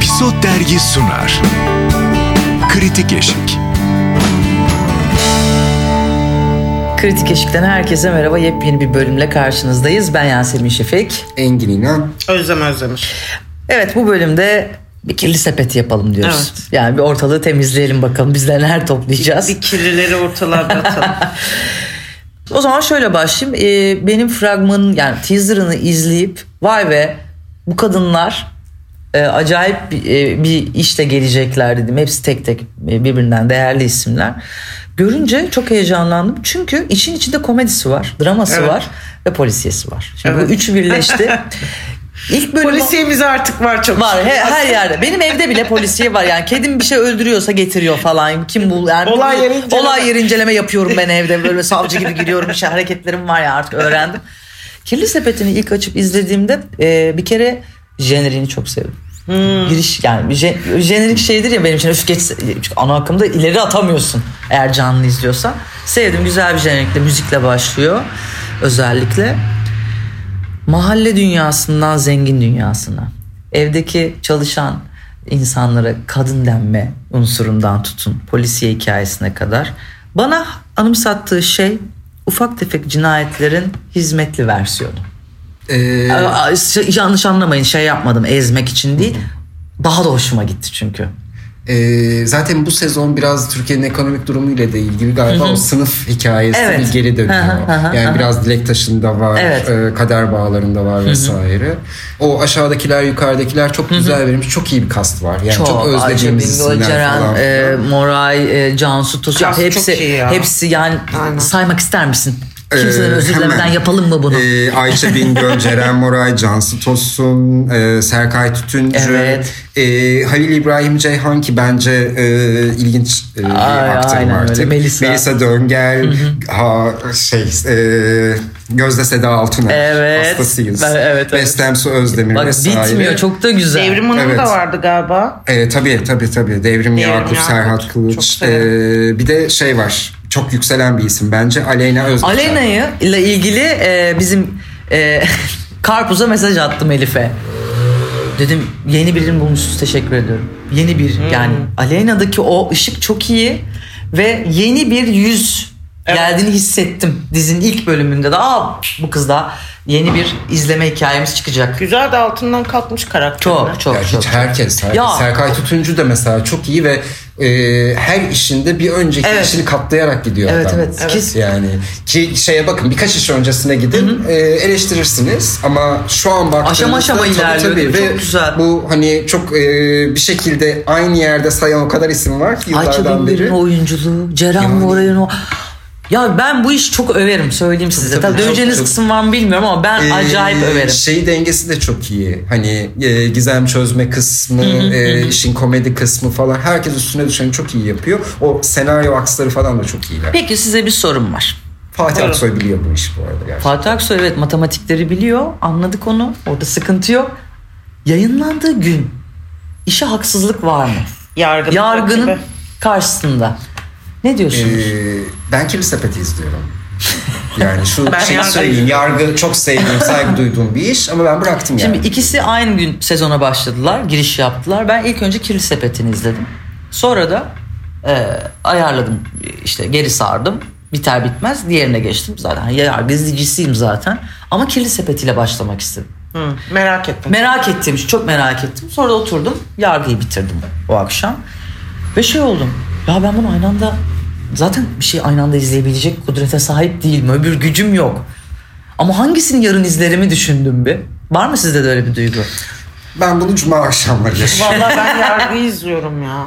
Pisot Dergi sunar. Kritik Eşik. Kritik Eşik'ten herkese merhaba. Yepyeni bir bölümle karşınızdayız. Ben Yasemin Şefik. Engin İnan. Özlem Özdemir. Evet bu bölümde bir kirli sepeti yapalım diyoruz. Evet. Yani bir ortalığı temizleyelim bakalım. Biz neler toplayacağız. Bir kirlileri ortalığa bir atalım. O zaman şöyle başlayayım. Ee, benim fragmanın yani teaserını izleyip vay be bu kadınlar e, acayip bir, e, bir işle gelecekler dedim. Hepsi tek tek e, birbirinden değerli isimler. Görünce çok heyecanlandım. Çünkü işin içinde komedisi var, draması Evet. var ve polisiyesi var. Şimdi Evet. bu üçü birleşti. İlk bölüm Polisiyemiz artık var çok. var he- her yerde. Benim evde bile polisiye var. Yani kedim bir şey öldürüyorsa getiriyor falan. Kim bul? Yani Olay yeri inceleme. olay yeri inceleme yapıyorum ben evde. Böyle savcı gibi giriyorum. Bir şey hareketlerim var ya artık öğrendim. Kirli sepetini ilk açıp izlediğimde e, bir kere jenerini çok sevdim. Hmm. Giriş yani je- jenerik şeydir ya benim için üf geç çünkü ana akımda ileri atamıyorsun eğer canlı izliyorsan. Sevdim güzel bir jenerikle müzikle başlıyor özellikle mahalle dünyasından zengin dünyasına, evdeki çalışan insanlara kadın denme unsurundan tutun polisiye hikayesine kadar bana anımsattığı şey ufak tefek cinayetlerin hizmetli versiyonu. Ee, Aa, şey- Yanlış anlamayın şey yapmadım ezmek için değil. Daha da hoşuma gitti çünkü. e, zaten bu sezon biraz Türkiye'nin ekonomik durumuyla da ilgili galiba o sınıf hikayesi Evet. bir geri dönüyor. Hı hı, hı hı, yani hı. biraz Dilektaş'ın da var, Evet. e, kader bağlarında var vesaire. O aşağıdakiler, yukarıdakiler çok güzel verilmiş. Çok iyi bir kast var. Yani çok, Ayça özlediğimiz Bingöl, isimler Ceren, falan. e, Moray, e, Cansu Tosun Kas çok iyi hepsi ya. hepsi yani Aynen. saymak ister misin? Kimsenin Ee, özür dilemeden hemen. yapalım mı bunu? Ee, Ayça Bingöl, Ceren Moray, Cansu Tosun, e, Serkay Tütüncü, Evet. e, Halil İbrahim Ceyhan ki bence e, ilginç e, bir Ay, aktarım aynen öyle. artık. Melisa. Döngel, ha, şey, e, Gözde Seda Altuner Evet. hastasıyız. Ben- evet, evet. Bestem Su Özdemir Bak vesaire. bitmiyor çok da güzel. Devrim Hanım Evet. da vardı galiba. E, tabii tabii tabii. Devrim Yakup, Yakup. Serhat Çok Kılıç. severim. E, bir de şey var. Çok yükselen bir isim bence. Aleyna Özgür. Alena'yı ile ilgili e, bizim e, Karpuz'a mesaj attım Elif'e. Dedim yeni birini bulmuşsunuz teşekkür ediyorum. Yeni bir Hmm. yani Alena'daki o ışık çok iyi ve yeni bir yüz geldiğini hissettim. Dizinin ilk bölümünde de aa bu kız da yeni bir izleme hikayemiz çıkacak. Güzel de altından kalkmış karakter. Çok çok Ya çok. hiç herkes, herkes. Ya. Serkay Tütüncü de mesela çok iyi ve e, her işinde bir önceki Evet. işini katlayarak gidiyor Evet, adam. evet. Kes- Yani ki şeye bakın birkaç iş öncesine gidin e, eleştirirsiniz ama şu an baktığınızda Aşama aşama tabii, ilerliyor değil mi? ve Çok güzel. Bu hani çok e, bir şekilde aynı yerde sayan o kadar isim var ki Ayça yıllardan Bingöl'ün beri. oyunculuğu, Ceren Yani. Moray'ın o... Ya ben bu işi çok överim söyleyeyim size. tabii, Tabii, çok, döveceğiniz çok. kısım var mı bilmiyorum ama ben E, acayip överim. Şey dengesi de çok iyi. Hani e, gizem çözme kısmı, e, işin komedi kısmı falan herkes üstüne düşeni çok iyi yapıyor. O senaryo aksları falan da çok iyiler. Peki size bir sorum var. Fatih Buyurun. Aksoy biliyor bu işi bu arada gerçekten. Fatih Aksoy evet matematikleri biliyor. Anladık onu. Orada sıkıntı yok. Yayınlandığı gün işe haksızlık var mı? Yargının, Yargının rakibi. karşısında. Ne diyorsunuz? Ee, ben kirli sepeti izliyorum. Yani şu Ben şeyi yargı- söyleyeyim. Yargı çok sevdiğim, saygı duyduğum bir iş ama ben bıraktım yani. Şimdi ikisi aynı gün sezona başladılar, giriş yaptılar. Ben ilk önce Kirli Sepeti'ni izledim. Sonra da e, ayarladım işte geri sardım. Biter bitmez diğerine geçtim. Zaten yargı izleyicisiyim zaten. Ama Kirli Sepeti'yle başlamak istedim. Hı, merak ettim. Merak ettim, çok merak ettim. Sonra da oturdum, yargıyı bitirdim o akşam. Ve şey oldum, ya ben bunu aynı anda... Zaten bir şey aynı anda izleyebilecek kudrete sahip değilim. Öbür gücüm yok. Ama hangisini yarın izlerimi düşündüm bir. Var mı sizde de öyle bir duygu? Ben bunu cuma akşamları yaşıyorum. Vallahi ben yargıyı izliyorum ya.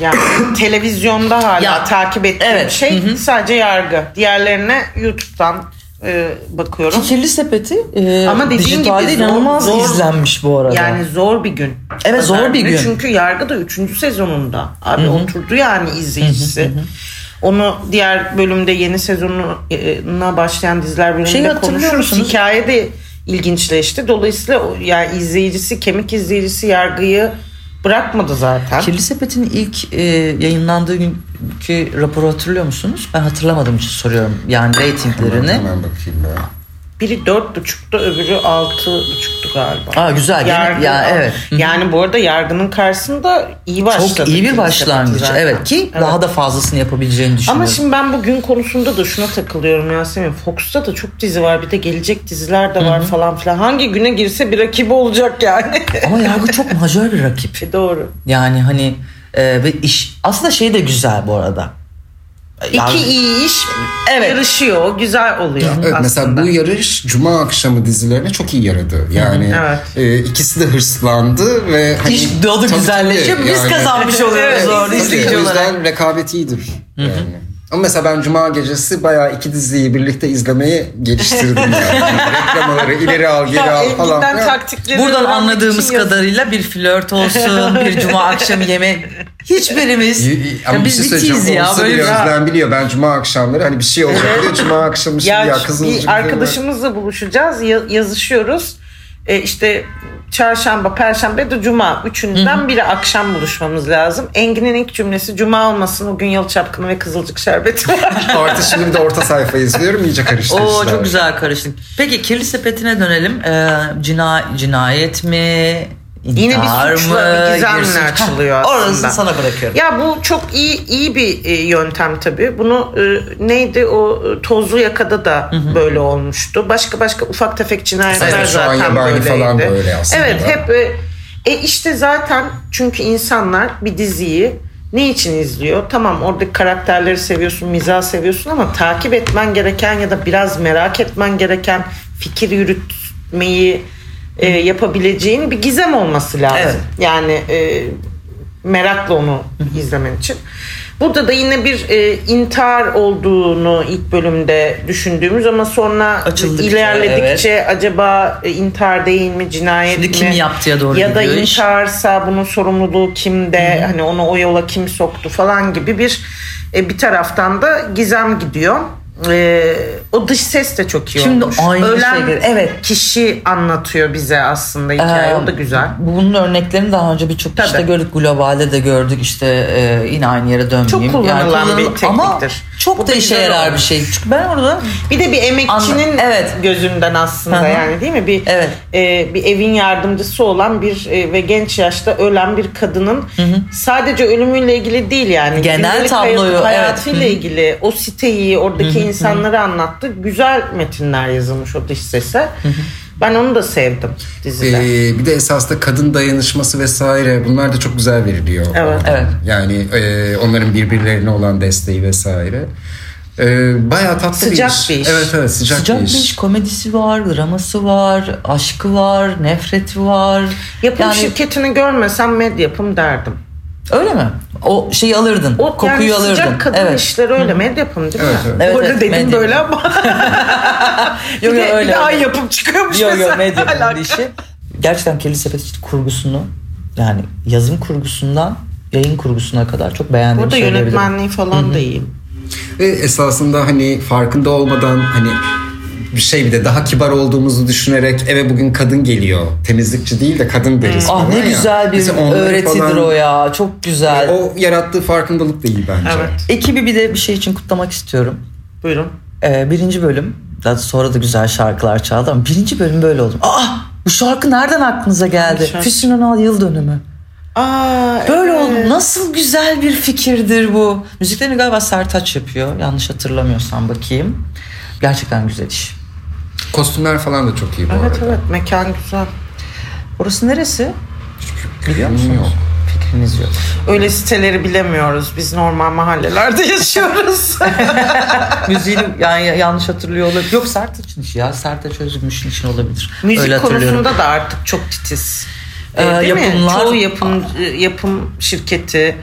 Yani televizyonda hala Ya, takip ettiğim evet, şey sadece yargı. Diğerlerine YouTube'dan e, bakıyorum. Kirli sepeti e, Ama dediğin dijitalde gibi zor- inanılmaz zor- izlenmiş bu arada. Yani zor bir gün. Evet, zor Özellikle bir gün. Çünkü yargı da 3. sezonunda. Abi oturdu yani izleyicisi. Onu diğer bölümde yeni sezonuna başlayan diziler bölümünde Şeyi hatırlıyor konuşuruz. musunuz? Hikaye de ilginçleşti. Dolayısıyla o- yani izleyicisi, kemik izleyicisi yargıyı bırakmadı zaten. Kirli Sepet'in ilk e, yayınlandığı günkü raporu hatırlıyor musunuz? Ben hatırlamadığım için soruyorum. Yani reytinglerini. Hemen bakayım ya. Biri dört buçukta öbürü altı buçuktu galiba. Aa, güzel. Gene- ya, evet. Hı hı. Yani bu arada yargının karşısında iyi başladı. Çok iyi bir Kilise başlangıç. zaten. Evet ki daha da fazlasını yapabileceğini düşünüyorum. Ama şimdi ben bugün konusunda da şuna takılıyorum Yasemin. Fox'ta da çok dizi var. Bir de gelecek diziler de var falan filan. Hangi güne girse bir rakibi olacak yani. Ama yargı çok majör bir rakip. E, Doğru. Yani hani e, ve iş aslında şey de güzel bu arada. Yargı- İki iyi iş Evet. yarışıyor. Güzel oluyor Evet, aslında. mesela bu yarış cuma akşamı dizilerine çok iyi yaradı. Yani Evet. e, ikisi de hırslandı ve hani, İş doğdu tabii güzelleşiyor. tabii Biz yani. kazanmış oluyoruz Evet, orada biz Tabii, izleyici O olarak. yüzden rekabet iyidir. Yani. Ama mesela ben cuma gecesi bayağı iki diziyi birlikte izlemeyi geliştirdim. Yani. Hani Reklamaları ileri al geri Ya, al e, falan. Elgin'den filan. taktikleri Buradan öğrenmek anladığımız için yazın. kadarıyla bir flört olsun, bir cuma akşamı yeme. Hiçbirimiz. İyi, iyi. Ama Ya bir biz şey bitiyiz söyleyeceğim. ya. Olsa Böyle bile bir- Özlem biliyor. Ben cuma akşamları hani bir şey olacak diyor. Cuma akşamı şimdi Ya, ya, şu- kızılcık bir diyorlar. arkadaşımızla buluşacağız, ya- yazışıyoruz. E, işte çarşamba, perşembe de cuma. Üçünden biri akşam buluşmamız lazım. Engin'in ilk cümlesi cuma olmasın o gün yalı çapkını ve kızılcık şerbeti var. Artı şimdi bir de orta sayfa izliyorum. iyice karıştı Oo işler. çok güzel karıştık. Peki kirli sepetine dönelim. Ee, cina cinayet mi? Yine bir İntihar suçla mı? bir gizemle Giriş- açılıyor Hah, aslında. Orasını sana bırakıyorum. ya bu çok iyi iyi bir e, yöntem tabii. Bunu e, neydi o e, tozlu yakada da böyle olmuştu. Başka başka ufak tefek cinayetler Evet, şu an zaten yabani böyleydi. falan böyle aslında. Evet hep e, e işte zaten çünkü insanlar bir diziyi ne için izliyor? Tamam oradaki karakterleri seviyorsun, mizah seviyorsun ama takip etmen gereken ya da biraz merak etmen gereken fikir yürütmeyi e, yapabileceğin bir gizem olması lazım. Evet. Yani e, merakla onu izlemen için. Burada da yine bir e, intihar olduğunu ilk bölümde düşündüğümüz ama sonra Açıldıkça, ilerledikçe acaba e, intihar değil mi cinayet Şimdi mi? kim yaptıya doğru Ya da gidiyor iş. intiharsa bunun sorumluluğu kimde? Hani onu o yola kim soktu falan gibi bir e, bir taraftan da gizem gidiyor. E, o dış ses de çok iyi Şimdi olmuş. aynı şey Ölen şeyleri- evet kişi anlatıyor bize aslında hikaye. Ee, o da güzel. Bunun örneklerini daha önce birçok Tabii. işte gördük. Globalde de gördük. işte e, yine aynı yere dönmeyeyim. Çok kullanılan kullanıl- bir tekniktir. Ama çok Bu da da işe güzel yarar bir olmuş. şey. Çünkü ben orada Bir de bir emekçinin Anla- evet. gözünden aslında Hı hı. yani değil mi? Bir Evet. e, bir evin yardımcısı olan bir e, ve genç yaşta ölen bir kadının sadece ölümüyle ilgili değil yani Genel gündelik tabloyu, evet. hayat, hayatıyla ilgili o siteyi, oradaki insanları anlattı. Güzel metinler yazılmış o dış sese. Ben onu da sevdim dizide. Ee, bir de esasında kadın dayanışması vesaire bunlar da çok güzel veriliyor. Evet. Evet. Yani e, onların birbirlerine olan desteği vesaire. Ee, bayağı tatlı Sıcak bir iş. bir iş. Evet evet sıcak, sıcak bir iş. Komedisi var, draması var, aşkı var, nefreti var. yapım Yani- şirketini görmesem med yapım derdim. Öyle mi? O şeyi alırdın. O kokuyu yani alırdın. sıcak kadın evet. işleri öyle med yapım değil mi? Evet, evet. Evet, Bu arada evet, dedim med böyle ama Yok, bir yok, de, öyle, bir de ay öyle. yapım çıkıyormuş Yo mesela. yo medyanın Alaka. işi. Gerçekten Kirli Sepet işte kurgusunu yani yazım kurgusundan yayın kurgusuna kadar çok beğendiğimi Burada söyleyebilirim. yönetmenliği falan da iyi. Ve esasında hani farkında olmadan hani bir şey bir de daha kibar olduğumuzu düşünerek eve bugün kadın geliyor. Temizlikçi değil de kadın deriz. Ah falan ne ya. güzel bir Mesela onları öğretidir falan- E, o ya. Çok güzel. O yarattığı farkındalık da iyi bence. Evet. Ekibi bir de bir şey için kutlamak istiyorum. Buyurun. Ee, birinci bölüm. Daha sonra da güzel şarkılar çaldı ama birinci bölüm böyle oldu. Aa bu şarkı nereden aklınıza geldi? şarkı? Füsun Önal yıl dönümü. Aa, Böyle evet. oldu. Nasıl güzel bir fikirdir bu. Müziklerini galiba Sertaç yapıyor. Yanlış hatırlamıyorsam bakayım. Gerçekten güzel iş. Kostümler falan da çok iyi bu Evet arada. evet mekan güzel. Orası neresi? Biliyor musunuz? Fikriniz yok. Öyle siteleri bilemiyoruz. Biz normal mahallelerde yaşıyoruz. Müziğini yani yanlış hatırlıyor olabilir. Yok Sertaç'ın işi ya. Sertaç Özgümüş'ün işi olabilir. Müzik Öyle hatırlıyorum. konusunda da artık çok titiz. Ee, Ee, değil yapımlar- mi? Çoğu yapım e, yapım şirketi,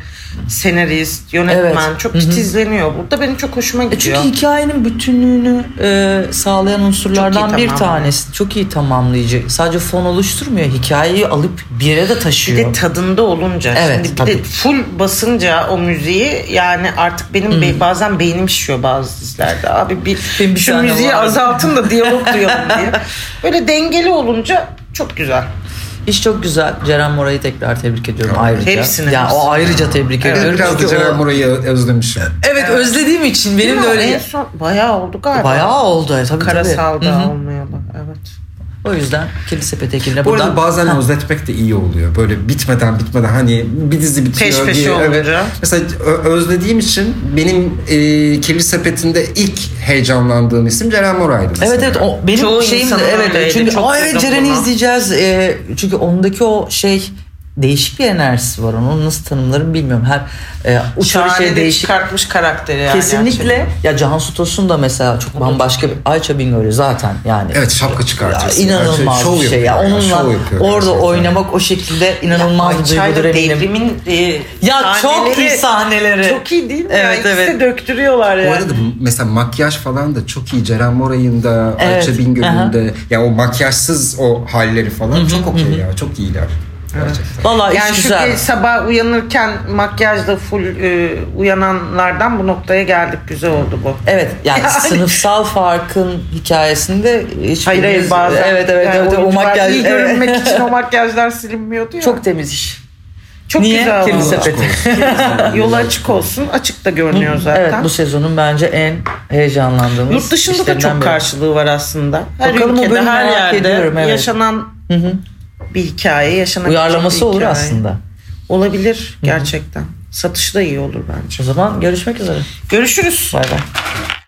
senarist, yönetmen Evet. çok titizleniyor. Burada benim çok hoşuma E Çünkü gidiyor. hikayenin bütünlüğünü e, sağlayan unsurlardan Çok iyi bir tamamlıyor. tanesi. Çok iyi tamamlayıcı. Sadece fon oluşturmuyor. Hikayeyi alıp bir yere de Bir taşıyor. de tadında olunca. Evet, Şimdi bir tabii. de full basınca o müziği yani artık benim be- bazen beynim şişiyor bazı dizilerde. Abi bir, Hmm. Benim bir şu tane müziği vardı. azaltın da diyalog duyalım diye. Böyle dengeli olunca çok güzel. İş çok güzel. Ceren Mora'yı tekrar tebrik ediyorum ayrıca. Hepsini, Ya o hepsini. ayrıca tebrik Evet, ediyorum. Biraz da Çünkü o- Ceren Mora'yı özlemişim. Evet, özlediğim için benim de Ya, en öyle. son bayağı oldu galiba. Bayağı oldu. E, Tabii, tabii. Hı Karasal'da hı. olmayalı. Evet. O yüzden kilise petekine Bu arada buradan bazen özletmek de iyi oluyor. Böyle bitmeden bitmeden hani bir dizi bitiyor Peş peşe diye. olunca. Mesela ö- özlediğim için benim e, kirli sepetinde ilk heyecanlandığım isim Ceren Moray'dı. mesela. Evet evet o benim Çoğu şeyim de insanın öyleydi, evet çünkü çok Aa, evet kızdım Ceren'i buna. izleyeceğiz Ee, çünkü ondaki o şey değişik bir enerjisi var onun nasıl tanımlarım bilmiyorum her e, uçan Şahane şey de değişik çıkartmış karakteri yani. kesinlikle ya Cansu Tosun da mesela çok bambaşka bir Ayça Bingöl'ü zaten yani Evet şapka çıkartıyorsun. Ya, inanılmaz Şov bir şey ya. yapıyor yani, Onunla şov yapıyor orada gerçekten. oynamak o şekilde inanılmaz Ay bir duygudur Çayla eminim. devrimin e, Ya çok iyi sahneleri. Çok iyi değil mi? Evet, Evet, ya? İkisi evet. de döktürüyorlar Bu yani. arada bu- mesela makyaj falan da çok iyi. Ceren Moray'ın da, Evet, Ayça aha. Bingöl'ün de. Ya o makyajsız o halleri falan çok okey ya. Çok iyiler. Gerçekten. Vallahi yani iş şu güzel. ki sabah uyanırken makyajla full e, uyananlardan bu noktaya geldik. Güzel oldu bu. Evet yani, Yani- sınıfsal farkın hikayesinde hiç Hayır hayır bazen. evet evet, yani evet, o oyuncular makyaj iyi evet. görünmek için o makyajlar silinmiyordu ya. çok temiz iş. çok Niye? güzel Kirli oldu. sepet. Yolu açık olsun. Açık da görünüyor zaten. Evet bu sezonun bence en heyecanlandığımız Yurt dışında da işlerinden çok biri. karşılığı var aslında. Her Bakalım o ülkede, bölümü her merak yerde ediyorum, evet. yaşanan bir hikaye, yaşanan Uyarlaması olur aslında. Olabilir gerçekten. Satış da iyi olur bence. O zaman görüşmek üzere. Görüşürüz. Bay bay.